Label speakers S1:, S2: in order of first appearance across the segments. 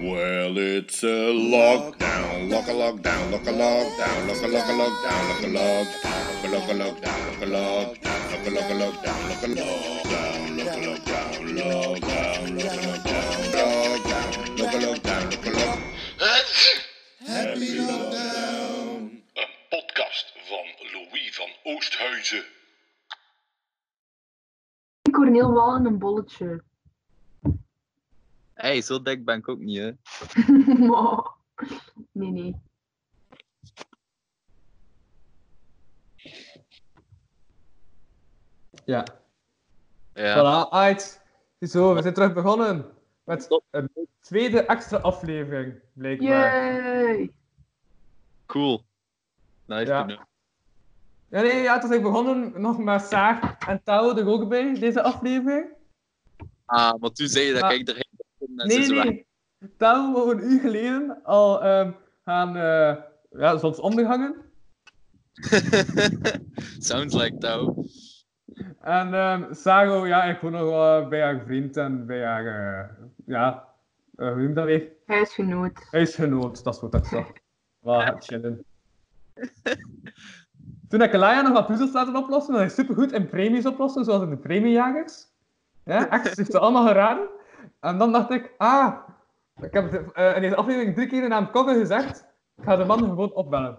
S1: Well, it's a lockdown, lock a lockdown, lock a lockdown, lock a lock a lockdown, lock a lockdown, lock a lockdown, lock a lockdown, lock a lockdown, lock a lockdown, lock a lockdown, lockdown, lock a lockdown, lockdown, lock a lockdown, lock a lock. Happy lockdown.
S2: Een podcast van Louis van Oosthuizen.
S3: Corneel wel in een bolletje.
S4: Hé, zo dik ben ik ook niet, hè.
S3: Maar- nee, nee.
S5: Ja.
S4: Ja.
S5: Voilà, uit. Zo, we zijn terug begonnen met
S4: Top.
S5: een tweede extra aflevering, blijkbaar.
S3: Yay!
S4: Cool. Nice
S5: Ja.
S4: to know.
S5: Ja, nee, ja, toen zijn begonnen nog met Saar en Tao er ook bij, deze aflevering.
S4: Ah, maar toen zei je dat
S5: Ah.
S4: ik erin kon en ze
S5: nee,
S4: is dus weg.
S5: nee. Tao wou een uur geleden al ehm, gaan, eh ja, zonsondergangen.
S4: Sounds like touw.
S5: En ehm Saar wou, ja, ik gewoon nog wel bij haar vriend en bij haar, eh, ja, eh, hoe noem je dat weer?
S3: Huisgenoot.
S5: Huisgenoot, dat is wat ik zag. Wat chillen. Toen heb ik Laia nog wat puzzels laten oplossen, dat is supergoed in premies oplossen, zoals in de premiejagers. Ja, echt, ze heeft ze allemaal geraden. En dan dacht ik, ah, ik heb eh, in deze aflevering drie keer de naam Kogge gezegd, ik ga de man gewoon opbellen.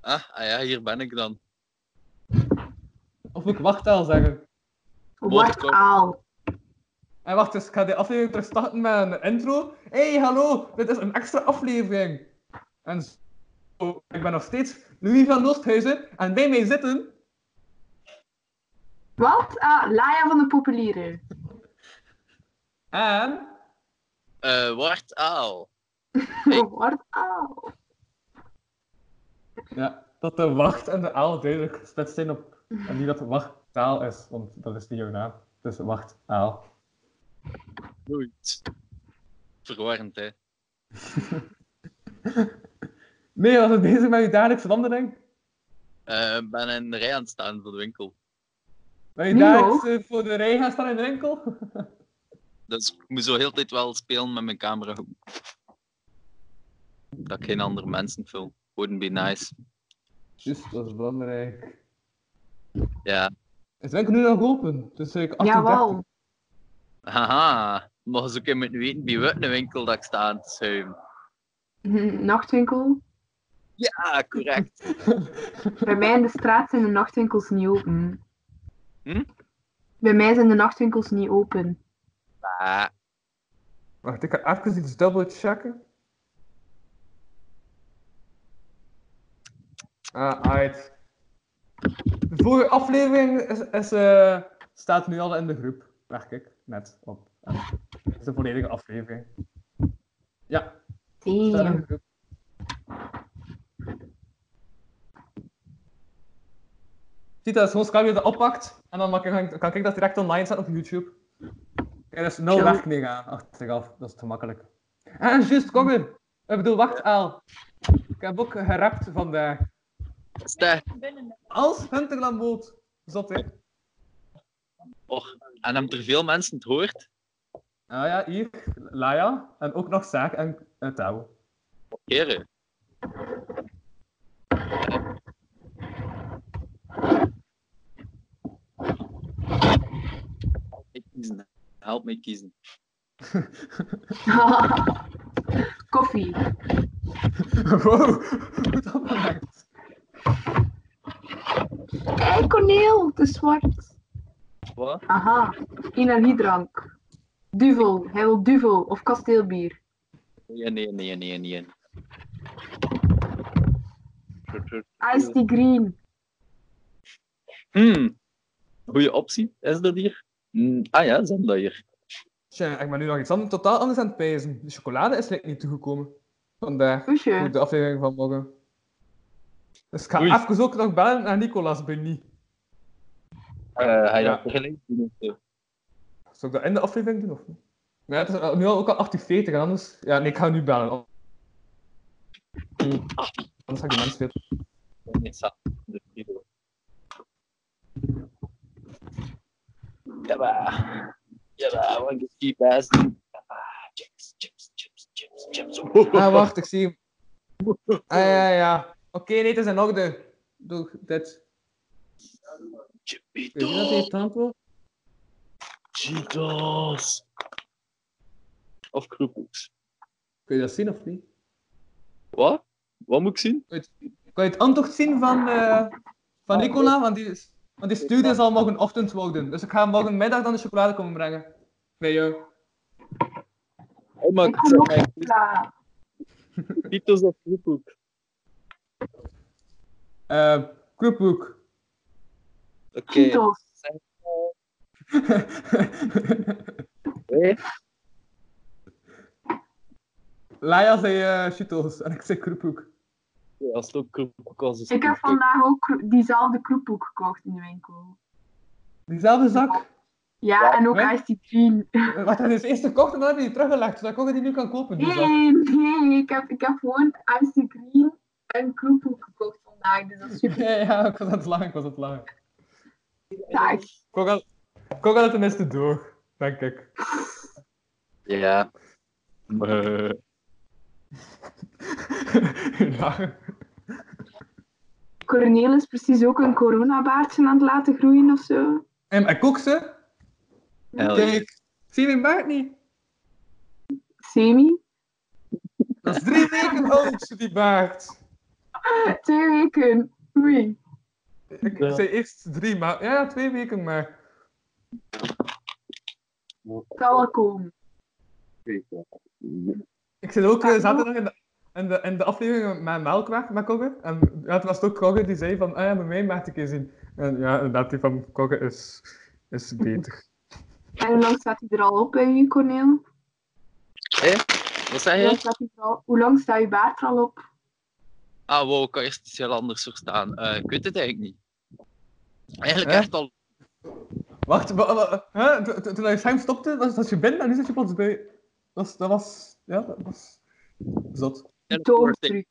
S4: Ah, ah ja, hier ben ik dan.
S5: Of moet ik wachttaal zeggen.
S4: Motorkop.
S3: Wat al.
S5: En wacht, dus ik ga de aflevering terug starten met een intro. Hé, hey, hallo, dit is een extra aflevering. En zo, ik ben nog steeds Louis van Oosthuizen en bij mij zitten
S3: Wat? Ah, Laia van de populieren.
S5: en...
S4: Eh, Wart Aal. Hey.
S3: Wat al.
S5: Ja, dat de wacht en de aal duidelijk gesplitst zijn op... En niet dat de wachttaal is, want dat is Dus niet jouw naam. Het is wachtaal.
S4: Nooit. Verwarrend, hè.
S5: Nee, was het bezig met je dagelijkse wandeling?
S4: Eh, Ik ben in de rij aan het staan voor de winkel.
S5: Ben je
S3: Nee,
S5: dagelijks eh, voor de rij gaan staan in de winkel?
S4: Dus ik moet zo heel de tijd wel spelen met mijn camera. Dat ik geen andere mensen film. Wouldn't be nice.
S5: Juist, dat is belangrijk.
S4: Ja.
S5: Is de winkel nu nog open? Dus ik 38.
S3: Jawel.
S4: Haha. Mogen ze ook in moeten weten bij welke winkel dat ik sta aan het schuiven.
S3: Hm, Nachtwinkel.
S4: Ja, correct.
S3: Bij mij in de straat zijn de nachtwinkels niet open.
S4: Hm?
S3: Bij mij zijn de nachtwinkels niet open.
S4: Ah.
S5: Wacht, ik ga even iets dubbelchecken. Ah, uit. De vorige aflevering is, is, eh, staat nu al in de groep, merk ik, net op. Het is de volledige aflevering. Ja, staat in de
S3: Damn.
S5: groep. Ziet, dat is gewoon Scabio dat oppakt, en dan mag ik- kan ik, kan ik dat direct online zetten op YouTube. Er is nul
S3: Chill.
S5: werkning aan achteraf, dat is te makkelijk. En juist, kom in. Ik bedoel, wacht al. Ik heb ook gerapt vandaag.
S4: Is dat-
S5: Als Hunterland Zot, hè?
S4: Och, en hebben er veel mensen het hoort?
S5: Ah ja, hier, Laia. En ook nog Saak en uh, Tao.
S4: Heren. Help mij kiezen. Help mij kiezen.
S3: Koffie.
S5: wow, goed opgemerkt.
S3: Kijk, Corneel, het is zwart.
S4: Wat?
S3: Aha, energiedrank. Duvel, hij wil duvel of kasteelbier.
S4: Nee, nee, nee, nee, nee.
S3: Ice tea green.
S4: Hmm. Goeie optie, is dat hier? Hmm, Ah ja, zijn dat hier.
S5: Tja, ik ben nu nog iets anders, totaal anders aan het pijzen. De chocolade is like, niet toegekomen. Vandaag, voor
S3: Kusje.
S5: de aflevering van morgen. Dus ik ga
S4: Oei.
S5: even ook nog bellen naar Nicolas Benny.
S4: Eh, Ga je
S5: Ja.
S4: dat tegelijk doen? of zo?
S5: Zal ik dat in de aflevering doen of niet? Ja, het is al- nu al ook al 18.40 en anders. Ja, nee, ik ga nu bellen. Hm. Anders ga ik de mensen weer.
S4: Nee, zat in de video. Jabba. Jabba, I want to keep asking. Jabba, chips, chips, chips, chips.
S2: chips op.
S5: Ah, wacht, ik zie hem. Ah, ja, ja. Oké, nee, het is in orde. Doe dit. Weet je dat heet, Tampo?
S2: Cheetos.
S4: Of kroekoeks.
S5: Kun je dat zien of niet?
S4: Wat? Wat moet ik zien?
S5: Kan je het antwoord zien van, eh, van Nicola? Want die, is- want die studie zal morgenochtend worden. Dus ik ga morgenmiddag dan de chocolade komen brengen. Bij jou.
S4: Oh, maar
S3: Ik
S4: ik
S3: ga
S4: zeg
S3: nog
S4: maar,
S3: chocola.
S4: Cheetos of kroekoeks.
S5: Eh kroephoek.
S4: Oké.
S3: Cheetos.
S4: Hé?
S5: Laia zei eh Cheetos en ik zei kroephoek.
S4: Ja, Als het ook kroekoek was, is het
S3: Ik heb
S4: kroekoek.
S3: vandaag ook kro- diezelfde kroephoek gekocht in de winkel.
S5: Diezelfde zak.
S3: Ja, en ook
S5: hè?
S3: Ice Green.
S5: Eh, Wat hij dus eerst gekocht en dan heb je die teruggelegd, zodat ik ook die nu kan kopen. Die zak.
S3: Nee, nee, ik heb, ik heb gewoon Ice Green en kroephoek gekocht vandaag. Dus dat is super
S5: Ja, ja, ik was aan het lachen, ik was aan het lachen.
S3: saai.
S5: Ik had- ik had het tenminste door, denk ik.
S4: Ja. Maar,
S5: lachen.
S3: Cornel is precies ook een coronabaardje aan het laten groeien of zo.
S5: En, en kook ze?
S4: hell yeah.
S5: Kijk, zie je mijn baard niet?
S3: Semi.
S5: Dat is drie weken oud, die baard.
S3: Eh, Twee weken. Oei.
S5: Ik
S4: Ja.
S5: zei eerst drie maanden. Ja, twee weken maar.
S3: Kan wel komen.
S5: Ik zit ook eh, zaterdag in de, in, de, in de aflevering met Melkweg, met Kogge. En ja, het was het ook Kogge die zei van, ah ja, bij mij maakt ik keer zien. En ja, inderdaad, die van Kogge is, is beter.
S3: En hoe lang staat hij er al op bij u, Cornel?
S4: Wat zei
S3: Hoe lang
S4: je?
S3: staat hij er al- Hoe lang staat je baard er al op?
S4: Ah, wow, ik kan eerst iets heel anders verstaan. Eh, ik weet het eigenlijk niet. Eigenlijk
S5: Hè?
S4: echt al...
S5: Wacht, wa- wa- hè? Toen- toen- toen hij zijn stopte, was, was je binnen en nu zit je plots bij. Dat was, dat was, ja, dat was zot.
S3: Doodtruc.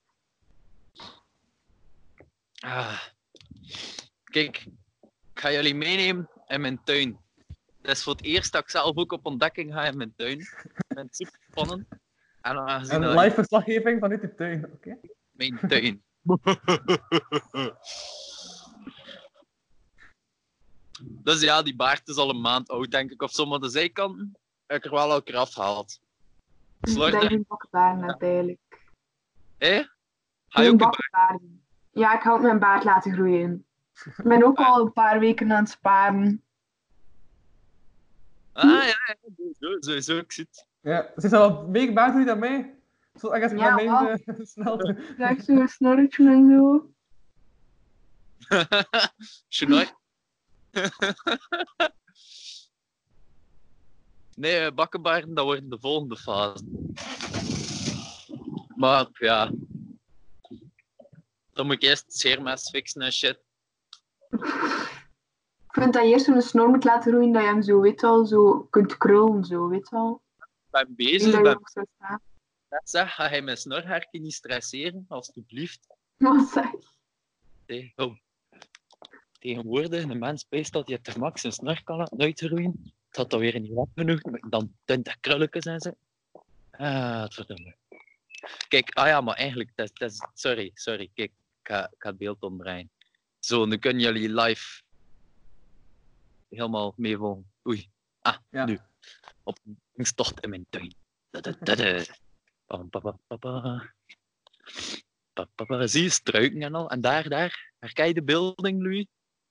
S4: Ah. Kijk, ik ga jullie meenemen in mijn tuin. Het is voor het eerst dat ik zelf ook op ontdekking ga in mijn tuin. Ik vind het super spannend. En aangezien
S5: En
S4: dat
S5: live verslaggeving vanuit die tuin, oké?
S4: mijn tuin. dus ja, die baard is al een maand oud, denk ik, of zo. Maar de zijkanten heb ik er wel elke keer afgehaald.
S3: Dus
S4: Slordig.
S3: dat je een bakkenbaarden hebt eigenlijk.
S4: Hé? Ga je
S3: Een
S4: ook een baard?
S3: bakkenbaarden. Ja, ik ga ook mijn baard laten groeien. Ik ben ook al een paar weken aan het sparen.
S4: Ah ja, ja, sowieso, sowieso, ik zie het.
S5: Ja, ze is al een week buiten dan mij. Zodat ik als ik
S3: Ja,
S5: naar mij eh, snel.
S3: Ik krijg zo'n snorretje en zo.
S4: Chinois. nee, eh, bakkenbaarden, dat wordt de volgende fase. Maar ja. Dan moet ik eerst scheermes fixen en shit.
S3: Ik vind dat je eerst zo'n snor moet laten groeien, dat je hem zo, weet je wel, zo kunt krullen, zo, weet je wel.
S4: Ik ben
S3: Ik denk
S4: bezig,
S3: dat
S4: ik
S3: je
S4: ben
S3: nog zo staat.
S4: net zeg, ga hij mijn snorhaarken niet stresseren, alstublieft.
S3: Wat zeg je?
S4: Nee, oh. Tegenwoordig, een mens beest dat je te max zijn snor kan laten uitgroeien. Het had alweer niet lang genoeg, maar dan 20 krulletjes en zo. Ah, het verdomme. Kijk, ah ja, maar eigenlijk, dat is- dat is- sorry, sorry, kijk, ik ga, ik ga het beeld omdraaien. Zo, nu kunnen jullie live helemaal meevolgen. Oei, ah,
S5: Ja.
S4: nu. Op een tocht in mijn tuin. Da, da, da, da. Pam, pa, pa, pa, pa. Pa, pa, pa. Zie je struiken en al? En daar, daar, herken je de beelding, Louis?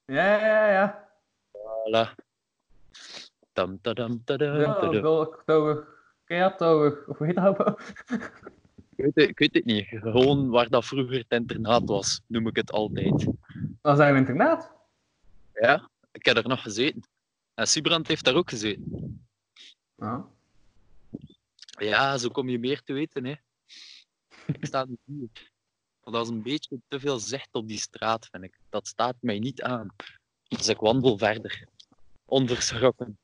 S5: Ja, ja, ja.
S4: Voilà. Dam, da, dam, da, dam,
S5: ja.
S4: da, dam.
S5: Bulktouwer. Keatouwer. Of hoe heet dat wel?
S4: Ik weet, het, ik weet het niet. Gewoon waar dat vroeger het internaat was, noem ik het altijd.
S5: Dat is eigenlijk een internaat.
S4: Ja, ik heb er nog gezeten. En Sibrand heeft daar ook gezeten.
S5: Ja.
S4: Ja, zo kom je meer te weten, hè. Ik sta niet hier. Want dat is een beetje te veel zicht op die straat, vind ik. Dat staat mij niet aan. Dus ik wandel verder. Onverschrokken.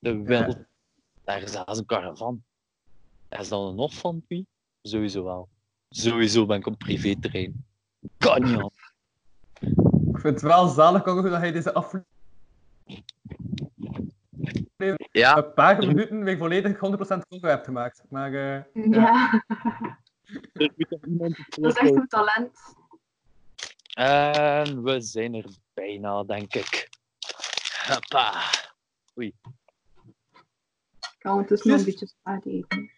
S4: De wel. Daar is daar is een caravan. Er is dan een hof van wie? Sowieso wel. Sowieso ben ik op privéterrein. Kan niet anders.
S5: Ik vind het wel zalig ook dat hij deze aflevering aflevering
S4: Ja,
S5: een paar minuten weer volledig 100% Congo hebt gemaakt. Maar eh,
S3: Ja,
S4: er moet nog iemand het
S3: dat
S4: woord
S3: is echt
S4: houden.
S3: een talent.
S4: En we zijn er bijna, denk ik. Hoppa.
S3: Ik kan ondertussen nog een
S5: Yes.
S3: beetje spaghetti eten.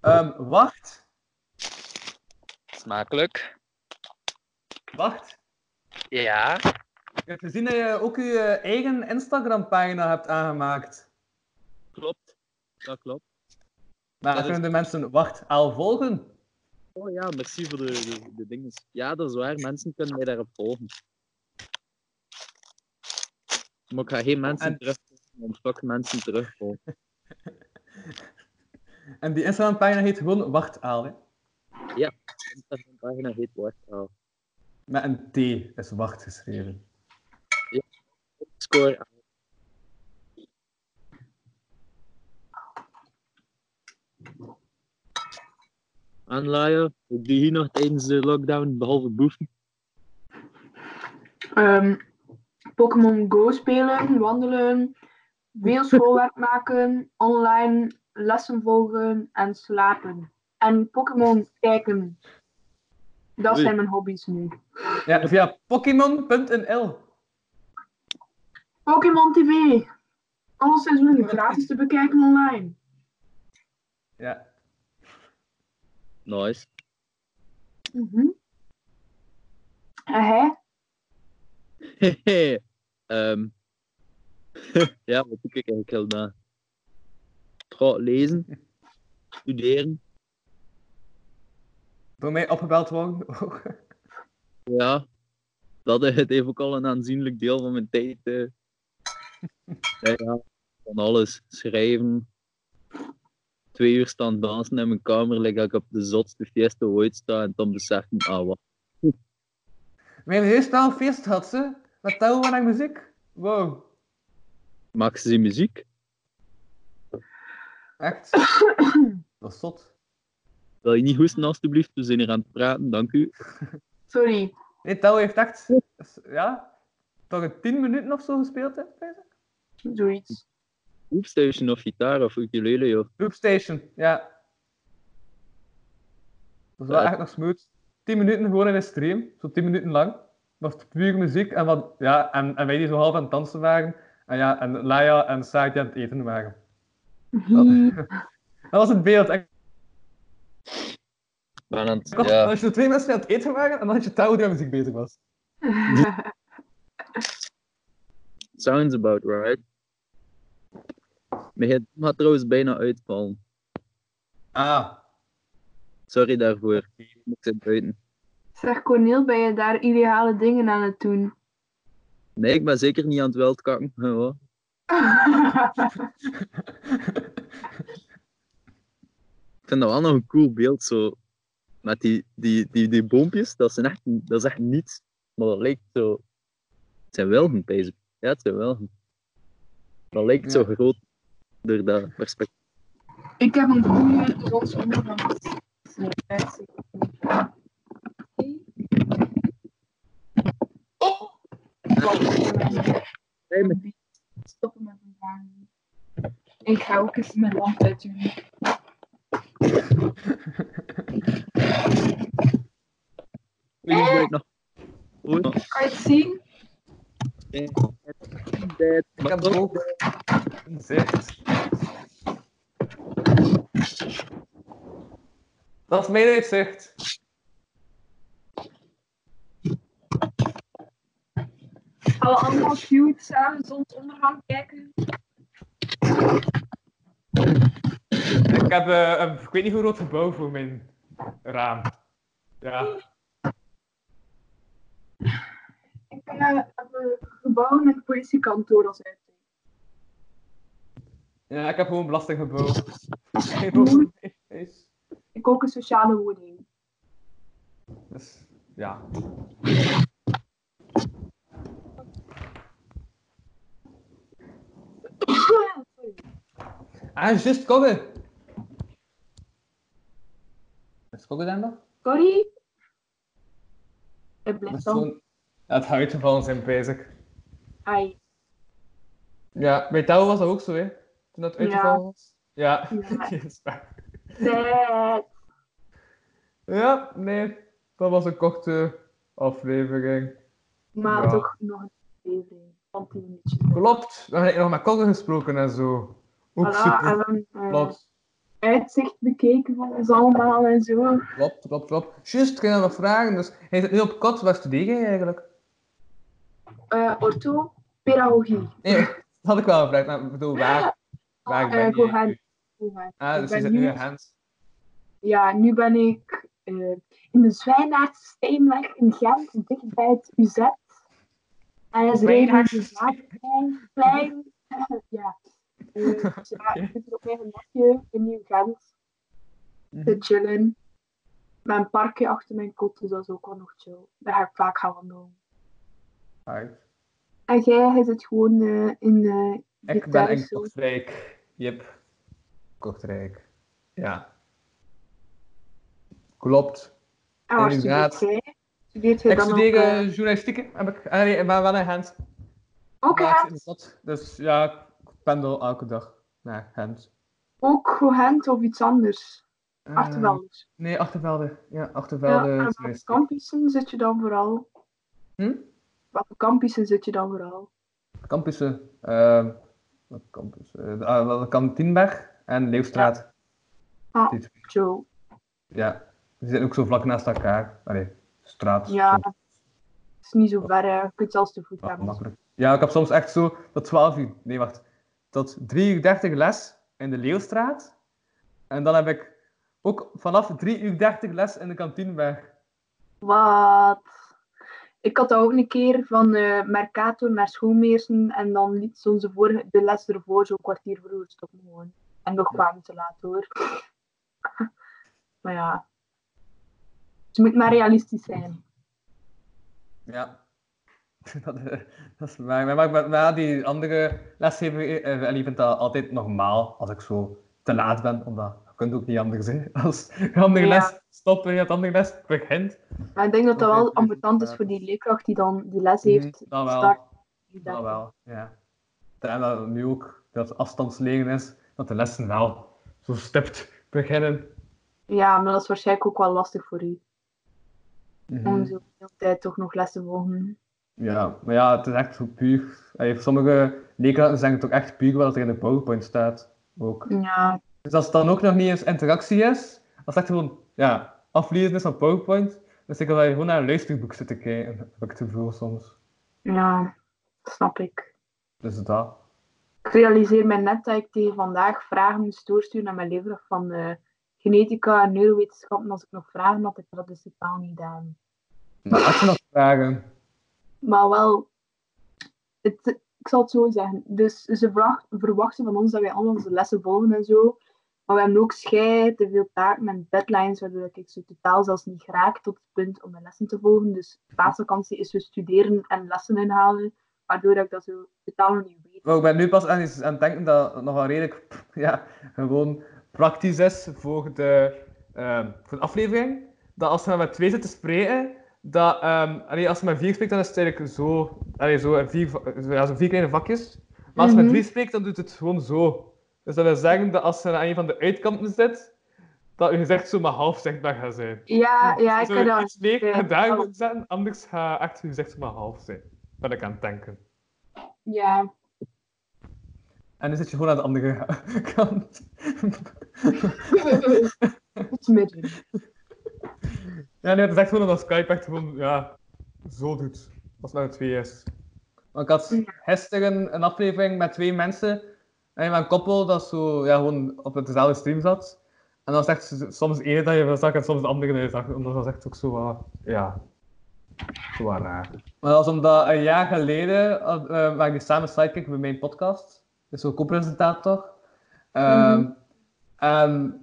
S5: ehm, wacht,
S4: Smakelijk.
S5: wacht.
S4: Ja.
S5: Ik heb gezien dat je ook je eh, eigen Instagram-pagina hebt aangemaakt.
S4: Klopt. Dat klopt.
S5: Maar
S4: Dat is-
S5: kunnen de mensen wacht al volgen?
S4: Oh ja, merci voor de, de, de dingen. Ja, dat is waar. Mensen kunnen mij daarop volgen. Maar ik ga geen mensen
S5: En-
S4: terugvolgen, want fuck mensen terugvolgen.
S5: En die Instagram-pagina heet gewoon wacht al. Hè?
S4: Dat is een pagina heet Wartaal.
S5: Met een T is wacht geschreven.
S4: Score. Aanlaaien. Ik doe hier nog tijdens de lockdown, behalve boeven.
S3: Ehm, Pokémon Go spelen, wandelen, veel schoolwerk maken, online lessen volgen en slapen. En Pokémon kijken. Dat
S4: Oei.
S3: zijn mijn hobby's nu.
S5: Ja, via Pokémon.nl.
S3: Pokémon TV. Alle seizoenen gratis te bekijken online.
S5: Ja.
S4: Nice.
S3: Mhm. En hij?
S4: Ehm. ja, wat doe ik eigenlijk heel na? Goh, lezen. Studeren.
S5: Door mij opgebeld worden. ook.
S4: Ja. Dat is het even al een aanzienlijk deel van mijn tijd. eh. Ja, ja, van alles. Schrijven. Twee uur staan dansen in mijn kamer, like dat ik op de zotste fiesta ooit sta en dan besef ik, ah, wat.
S5: Mijn heus wel een feest had ze. Dat touw naar muziek. Wow.
S4: Maak ze die muziek?
S5: Echt. Dat is zot.
S4: Wil je niet hoesten, alstublieft? We zijn hier aan het praten, dank u.
S3: Sorry.
S5: Nee, touw heeft echt... Ja? Toch een 10 minuten of zo gespeeld, hè?
S3: Zoiets.
S4: Oepstation of gitaar of ukulele, joh.
S5: Loopstation, ja. Dat is wel
S4: Ja.
S5: echt nog smooth. 10 minuten gewoon in een stream, zo 10 minuten lang. Dat was puur muziek en, wat, ja, en, en wij die zo half aan het dansen waren. En, ja, en Laia en Saad die aan het eten waren. Dat was het beeld. En
S4: Ik ben aan het-
S5: ik dacht,
S4: ja.
S5: Als je de twee mensen die aan het eten waren en dan had je Tao die aan muziek bezig was.
S4: Sounds about right. Mijn gsm gaat trouwens bijna uitvallen.
S5: Ah,
S4: Sorry daarvoor. Ik zit buiten.
S3: Zeg Cornel, ben je daar ideale dingen aan het doen?
S4: Nee, ik ben zeker niet aan het wildkakken. Ja, hoor. Ik vind dat wel nog een cool beeld zo. Met die, die, die, die boompjes, dat, zijn echt, dat is echt niets. Maar dat lijkt zo. Het zijn welgen, bezig. Ja, het zijn welgen. Dat lijkt zo
S5: Ja.
S4: groot door dat perspectief.
S3: Ik heb een goede rotse onderhand. Oh!
S4: Hey, maar-
S3: Stoppen met mijn vragen. Ik ga ook eens mijn lamp uitdoen.
S4: Oei, ik ben nog. Oei,
S3: Kan je het zien?
S5: ik heb ook een zicht. Dat is mijn uitzicht.
S3: Alle allemaal cute samen zonsondergang kijken.
S5: Ik heb eh, een, ik weet niet hoe groot gebouw voor mijn raam. Ja.
S3: Ik eh, heb een gebouw met een politiekantoor als uitzicht.
S5: ja, ik heb gewoon een belastinggebouw. Geen groot huis.
S3: Ik ook een sociale woning.
S5: Dus, ja. Ah, juist Kogge. Is Kogge dan nog?
S3: Sorry? Het
S5: Dat
S3: blijft
S5: is
S3: dan.
S5: gewoon- Ja, het huidje van ons in bezig.
S3: Ai.
S5: Ja, bij Tao was dat ook zo, hè. toen dat
S3: Ja.
S5: uitgevallen was? Ja.
S3: Ja.
S5: Ja. is waar.
S3: Sad.
S5: ja, nee. Dat was een korte aflevering.
S3: Maar
S5: Ja.
S3: toch nog een aflevering van 10 minuutjes.
S5: Klopt. We hebben nog met Colin gesproken en zo. Ook
S3: Voilà,
S5: super.
S3: en een eh,
S5: Klopt.
S3: uitzicht bekeken van ons allemaal en zo.
S5: Klopt, klopt, klopt. Juist, ik ging nog vragen. Dus hij zit nu op kot. Waar studeer jij eigenlijk?
S3: Eh ortho, pedagogie.
S5: Nee, dat had ik wel gevraagd. Maar ik bedoel, waar, waar
S3: Eh,
S5: ben je?
S3: Gohan.
S5: nu?
S3: Gohan.
S5: Ah,
S3: Ik
S5: dus
S3: ben
S5: je zit nu
S3: nu-
S5: in Gent.
S3: Ja, nu ben ik eh, in de Zwijnaardse Steenweg in Gent, dicht bij het UZ. En dat is redelijk
S5: Zwijnaardse
S3: een klein, klein. ja. Eh, dus ja, ik zit er op mijn gemakje in Nieuw-Gent te
S5: Mhm.
S3: chillen. Mijn parkje achter mijn kot, dus dat is ook wel nog chill. Daar ga ik vaak gaan wandelen.
S5: Right.
S3: En jij, hij zit gewoon eh, in eh hier
S5: Ik ben
S3: thuis,
S5: in
S3: zo.
S5: Kortrijk. Jep. Kortrijk. Ja. Klopt.
S3: En waar
S5: inderdaad.
S3: Ah, studeert jij? Studeert jij
S5: Ik
S3: dan ook,
S5: studeer
S3: eh,
S5: eh, journalistiek, hè, heb ik. Ah, nee, ik ben wel in Gent.
S3: ook
S5: Maar het
S3: Gent?
S5: is dat. Dus ja, ik pendel elke dag naar Gent.
S3: Ook Gent of iets anders?
S5: Eh,
S3: Achterveld of zo.
S5: Nee, Achtervelde. Ja,
S3: Ja,
S5: Achtervelde.
S3: en
S5: is
S3: welke
S5: journalistiek.
S3: campussen zit je dan vooral?
S5: Hm?
S3: Welke campussen zit je dan vooral?
S5: Campussen. ehm, welke campus? Eh, de- ah, wel, de Kantienberg en Leeuwstraat.
S3: Ah,
S5: Die twee.
S3: Joe.
S5: Ja. Die zitten ook zo vlak naast elkaar. Allee, straat.
S3: Ja,
S5: zo.
S3: het is niet zo ver. Hè. Je kunt zelfs te voet
S5: Ja,
S3: gaan.
S5: Ah, makkelijk. Ja, ik heb soms echt zo tot 12 uur, nee wacht, tot 3 uur 30 les in de Leeuwstraat. En dan heb ik ook vanaf 3 uur 30 les in de kantineberg.
S3: Wat? Ik had dat ook een keer van eh, Mercator naar Schoolmeersen en dan liet ze onze vorige, de les ervoor zo'n kwartier vroeger stoppen gewoon. En nog kwamen te laat hoor. maar ja. Ze moet maar realistisch zijn.
S5: Ja. Dat, eh, dat is waar. Maar, maar, maar, maar die andere lesgever eh, Ellie vindt dat altijd normaal als ik zo te laat ben. Omdat je kunt ook niet anders. Hè. Als je andere
S3: Ja.
S5: les stopt en je het andere les begint.
S3: Maar ik denk dat dat
S5: Oké,
S3: wel
S5: dus
S3: ambetant is
S5: inderdaad.
S3: voor die leerkracht die dan die les heeft.
S5: Dat wel.
S3: Start,
S5: Dat wel, ja. En dat nu ook dat afstandsleren is, dat de lessen wel zo stipt beginnen.
S3: Ja, maar dat is waarschijnlijk ook wel lastig voor u. Om zo veel tijd toch nog les te volgen.
S5: Ja, maar ja, het is echt zo puur. Allee, sommige leerkrachten zeggen het ook echt puur wat er in de PowerPoint staat. Ook.
S3: Ja,
S5: Dus als het dan ook nog niet eens interactie is, als het echt gewoon ja, aflezen is van PowerPoint, dan is ik dat je gewoon naar een luisterboek zit te kijken, heb ik het gevoel soms.
S3: ja, dat snap ik.
S5: Dus dat.
S3: Ik realiseer mij net dat ik tegen vandaag vragen moest doorsturen naar mijn leerkracht van eh, genetica en neurowetenschappen. Als ik nog vragen had, heb ik dat dus totaal niet gedaan.
S5: Maar als je nog vragen.
S3: Maar wel, het, ik zal het zo zeggen. Dus ze vraag- verwachten van ons dat wij al onze lessen volgen en zo. Maar we hebben ook scheid, te veel taken en deadlines, waardoor ik zo totaal zelfs niet raak tot het punt om mijn lessen te volgen. Dus paasvakantie is zo studeren en lessen inhalen, waardoor ik dat zo totaal nog niet weet.
S5: Maar ik ben nu pas aan, iets aan het denken dat het nog wel redelijk pff, ja, gewoon praktisch is voor de, ehm, voor de aflevering. Dat als we met twee zitten spreken, dat ehm, allee, als je met vier spreekt, dan is het eigenlijk zo, allee, zo, in vier, va- zo- ja, zo vier kleine vakjes. Maar als je met
S3: Mhm.
S5: drie spreekt, dan doet het gewoon zo. Dus dat wil zeggen dat als je aan een van de uitkanten zit, dat je gezicht zo maar half zichtbaar gaat zijn.
S3: Ja, Ah, ja, ik
S5: Zo
S3: kan dat.
S5: iets leeg
S3: ja,
S5: en daar
S3: klopt.
S5: moet zetten, anders gaat echt je gezicht zo maar half zijn. Ben ik aan het denken.
S3: Ja,
S5: En dan zit je gewoon aan de andere kant.
S3: goed midden.
S5: ja, nee, het is echt gewoon dat Skype echt gewoon, ja, zo doet. Als het nou twee is. Want ik had gisteren een aflevering met twee mensen. En met een koppel dat zo, ja, gewoon op dezelfde stream zat. En dan was echt zo- soms één dat je dat zag en soms de andere dat je zag. Omdat dat was echt ook zo, wat, ja, zo wat raar. Maar dat was omdat een jaar geleden had, eh, waren die samen sidekick bij mijn podcast. Dus zo'n co-presentator. Ehm,
S3: Mhm.
S5: En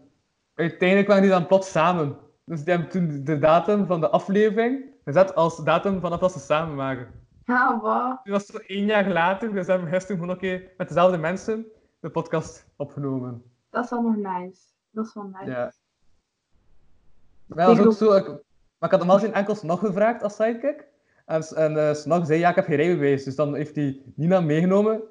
S5: uiteindelijk waren die dan plots samen. Dus die hebben toen de datum van de aflevering gezet als datum vanaf dat ze samen waren.
S3: Ja, wat?
S5: Dit was zo één jaar later, dus hebben we gisteren gewoon ook keer met dezelfde mensen de podcast opgenomen.
S3: Dat is wel nog nice. Dat is wel nice.
S5: Ja. Maar dat
S3: Ik
S5: is ook zo. Ik, maar ik had normaal geen enkel Snog gevraagd als sidekick. En, S- en eh, Snog zei: Ja, ik heb geen rijbewijs. Dus dan heeft hij Nina meegenomen.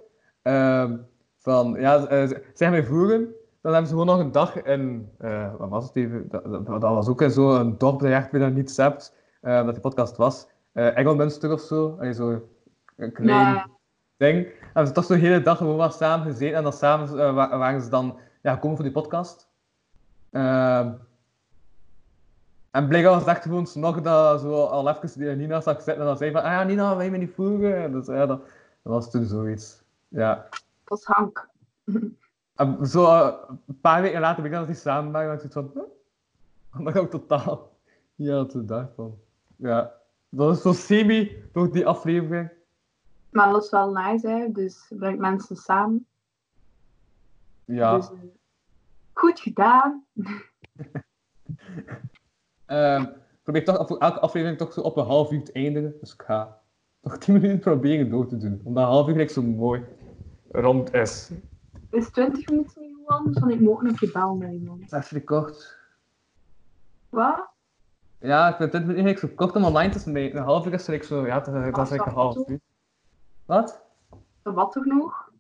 S5: Ehm Van, ja, eh, z- zijn wij voeren? Dan hebben ze gewoon nog een dag in, eh, wat was het even? Dat, dat, dat was ook in zo'n dorp dat je echt bijna niets hebt, eh, dat die podcast was. eh Engelmunster of zo, Allee, zo een klein
S3: Ja.
S5: ding. Hebben ze toch zo'n hele dag gewoon wat samen gezeten en dan samen eh, wa- waren ze dan, ja, komen voor die podcast. Ehm, en blijkbaar was het echt gewoon snog dat zo al even die Nina zag zitten en dan zei van, ah ja, Nina, wij je me niet voeren? En Dus ja, dat, dat was toen zoiets. Ja.
S3: Dat is Hank.
S5: En zo eh, een paar weken later ben ik dat die samen waren, en ik zoiets van, huh? dat ik ook totaal niet aan het daarvan. Ja. Dat is zo semi door die aflevering.
S3: Maar dat is wel nice, hè. Dus brengt mensen samen.
S5: Ja.
S3: Dus, eh, goed gedaan.
S5: Ehm, ik probeer toch voor elke aflevering toch zo op een half uur te eindigen. Dus ik ga toch 10 minuten proberen door te doen. Omdat een half uur echt zo mooi rond is.
S3: Is 20 minuten niet gewoon anders? Want ik moet ook nog een bel naar iemand.
S5: Dat is vrij kort.
S3: Wat?
S5: Ja, ik vind dit eigenlijk zo kort om online te smijten. Een half uur is eigenlijk zo, ja, dat, dat is eigenlijk een half uur. Wat?
S3: Wat toch nog?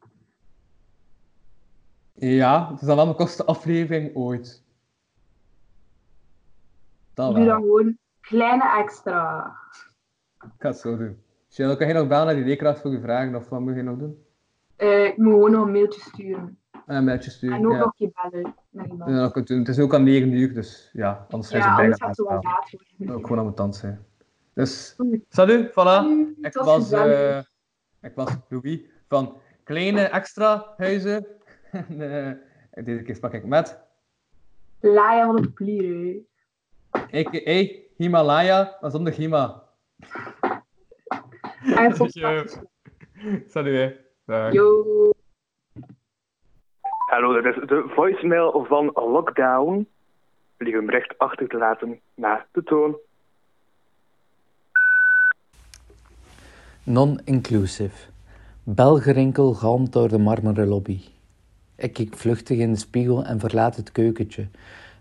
S5: Ja, het is dan wel mijn kortste aflevering ooit. Dat
S3: Doe dan
S5: Ah, wel.
S3: gewoon kleine extra.
S5: Ik ga het zo doen. Shell, kan jij nog bellen naar die leerkracht voor je vragen? Of wat moet je nog doen?
S3: Eh, ik moet gewoon nog een mailtje sturen.
S5: En een mailtje sturen.
S3: En ook
S5: ja.
S3: nog je bellen naar iemand.
S5: Ja, dat kan doen. Het is ook aan 9 uur, dus ja, anders zijn
S3: Ja,
S5: ze
S3: anders
S5: bijna
S3: gaat het wel
S5: aanstaan.
S3: laat worden.
S5: Ook gewoon aan mijn tand zijn. Dus,
S3: Goed.
S5: salut, voilà.
S3: Doei,
S5: Ik
S3: tot
S5: was,
S3: gezellig.
S5: eh, ik was Louis van Kleine Extra Huizen. En, eh, deze keer sprak ik met
S3: Laia van de plieren.
S5: a.k.a. Himalaya, maar zonder Hima.
S3: En tot
S5: Ja.
S3: straks.
S5: Salut, hè. Dag.
S3: Yo.
S6: Hallo, dat is de voicemail van Lockdown. Vlieg hem recht achter te laten naar de toon.
S7: Non-inclusive. Belgerinkel galmt door de marmeren lobby. Ik kijk vluchtig in de spiegel en verlaat het keukentje.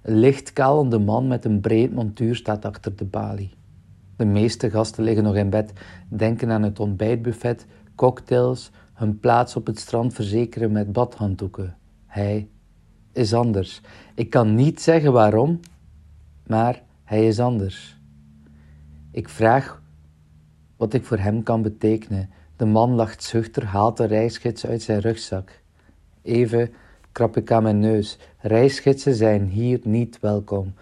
S7: Een lichtkalende man met een breed montuur staat achter de balie. De meeste gasten liggen nog in bed, denken aan het ontbijtbuffet, cocktails, hun plaats op het strand verzekeren met badhanddoeken. Hij is anders. Ik kan niet zeggen waarom, maar hij is anders. Ik vraag wat ik voor hem kan betekenen. De man lacht zuchter, haalt de reisgids uit zijn rugzak. Even krap ik aan mijn neus. Reisgidsen zijn hier niet welkom.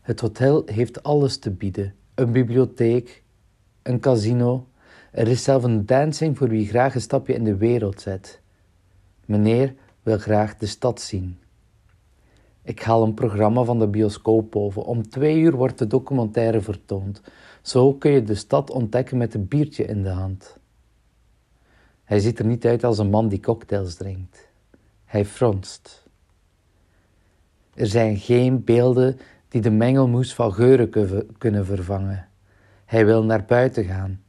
S7: Het hotel heeft alles te bieden: een bibliotheek, een casino. Er is zelf een dancing voor wie graag een stapje in de wereld zet. Meneer wil graag de stad zien. Ik haal een programma van de bioscoop boven. Om twee uur wordt de documentaire vertoond. Zo kun je de stad ontdekken met een biertje in de hand. Hij ziet er niet uit als een man die cocktails drinkt. Hij fronst. Er zijn geen beelden die de mengelmoes van geuren kuv- kunnen vervangen. Hij wil naar buiten gaan.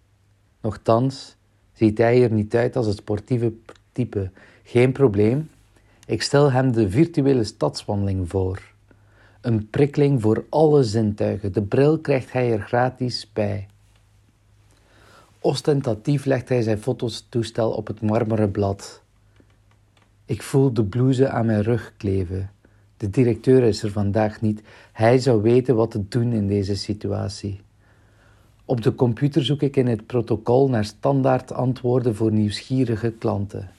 S7: Nochtans ziet hij er niet uit als het sportieve p- type. Geen probleem. Ik stel hem de virtuele stadswandeling voor. Een prikkeling voor alle zintuigen. De bril krijgt hij er gratis bij. Ostentatief legt hij zijn fototoestel op het marmeren blad. Ik voel de blouse aan mijn rug kleven. De directeur is er vandaag niet. Hij zou weten wat te doen in deze situatie. Op de computer zoek ik in het protocol naar standaard antwoorden voor nieuwsgierige klanten.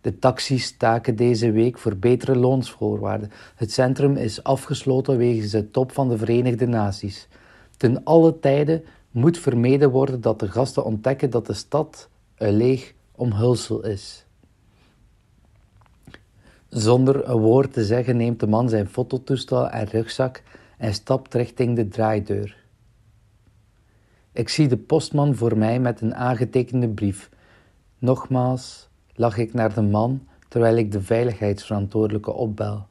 S7: De taxis staken deze week voor betere loonsvoorwaarden. Het centrum is afgesloten wegens de top van de Verenigde Naties. Ten alle tijden moet vermeden worden dat de gasten ontdekken dat de stad een leeg omhulsel is. Zonder een woord te zeggen neemt de man zijn fototoestel en rugzak en stapt richting de draaideur. Ik zie de postman voor mij met een aangetekende brief. Nogmaals lach ik naar de man terwijl ik de veiligheidsverantwoordelijke opbel.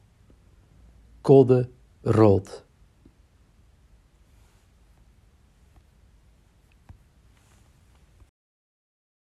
S7: Code rood.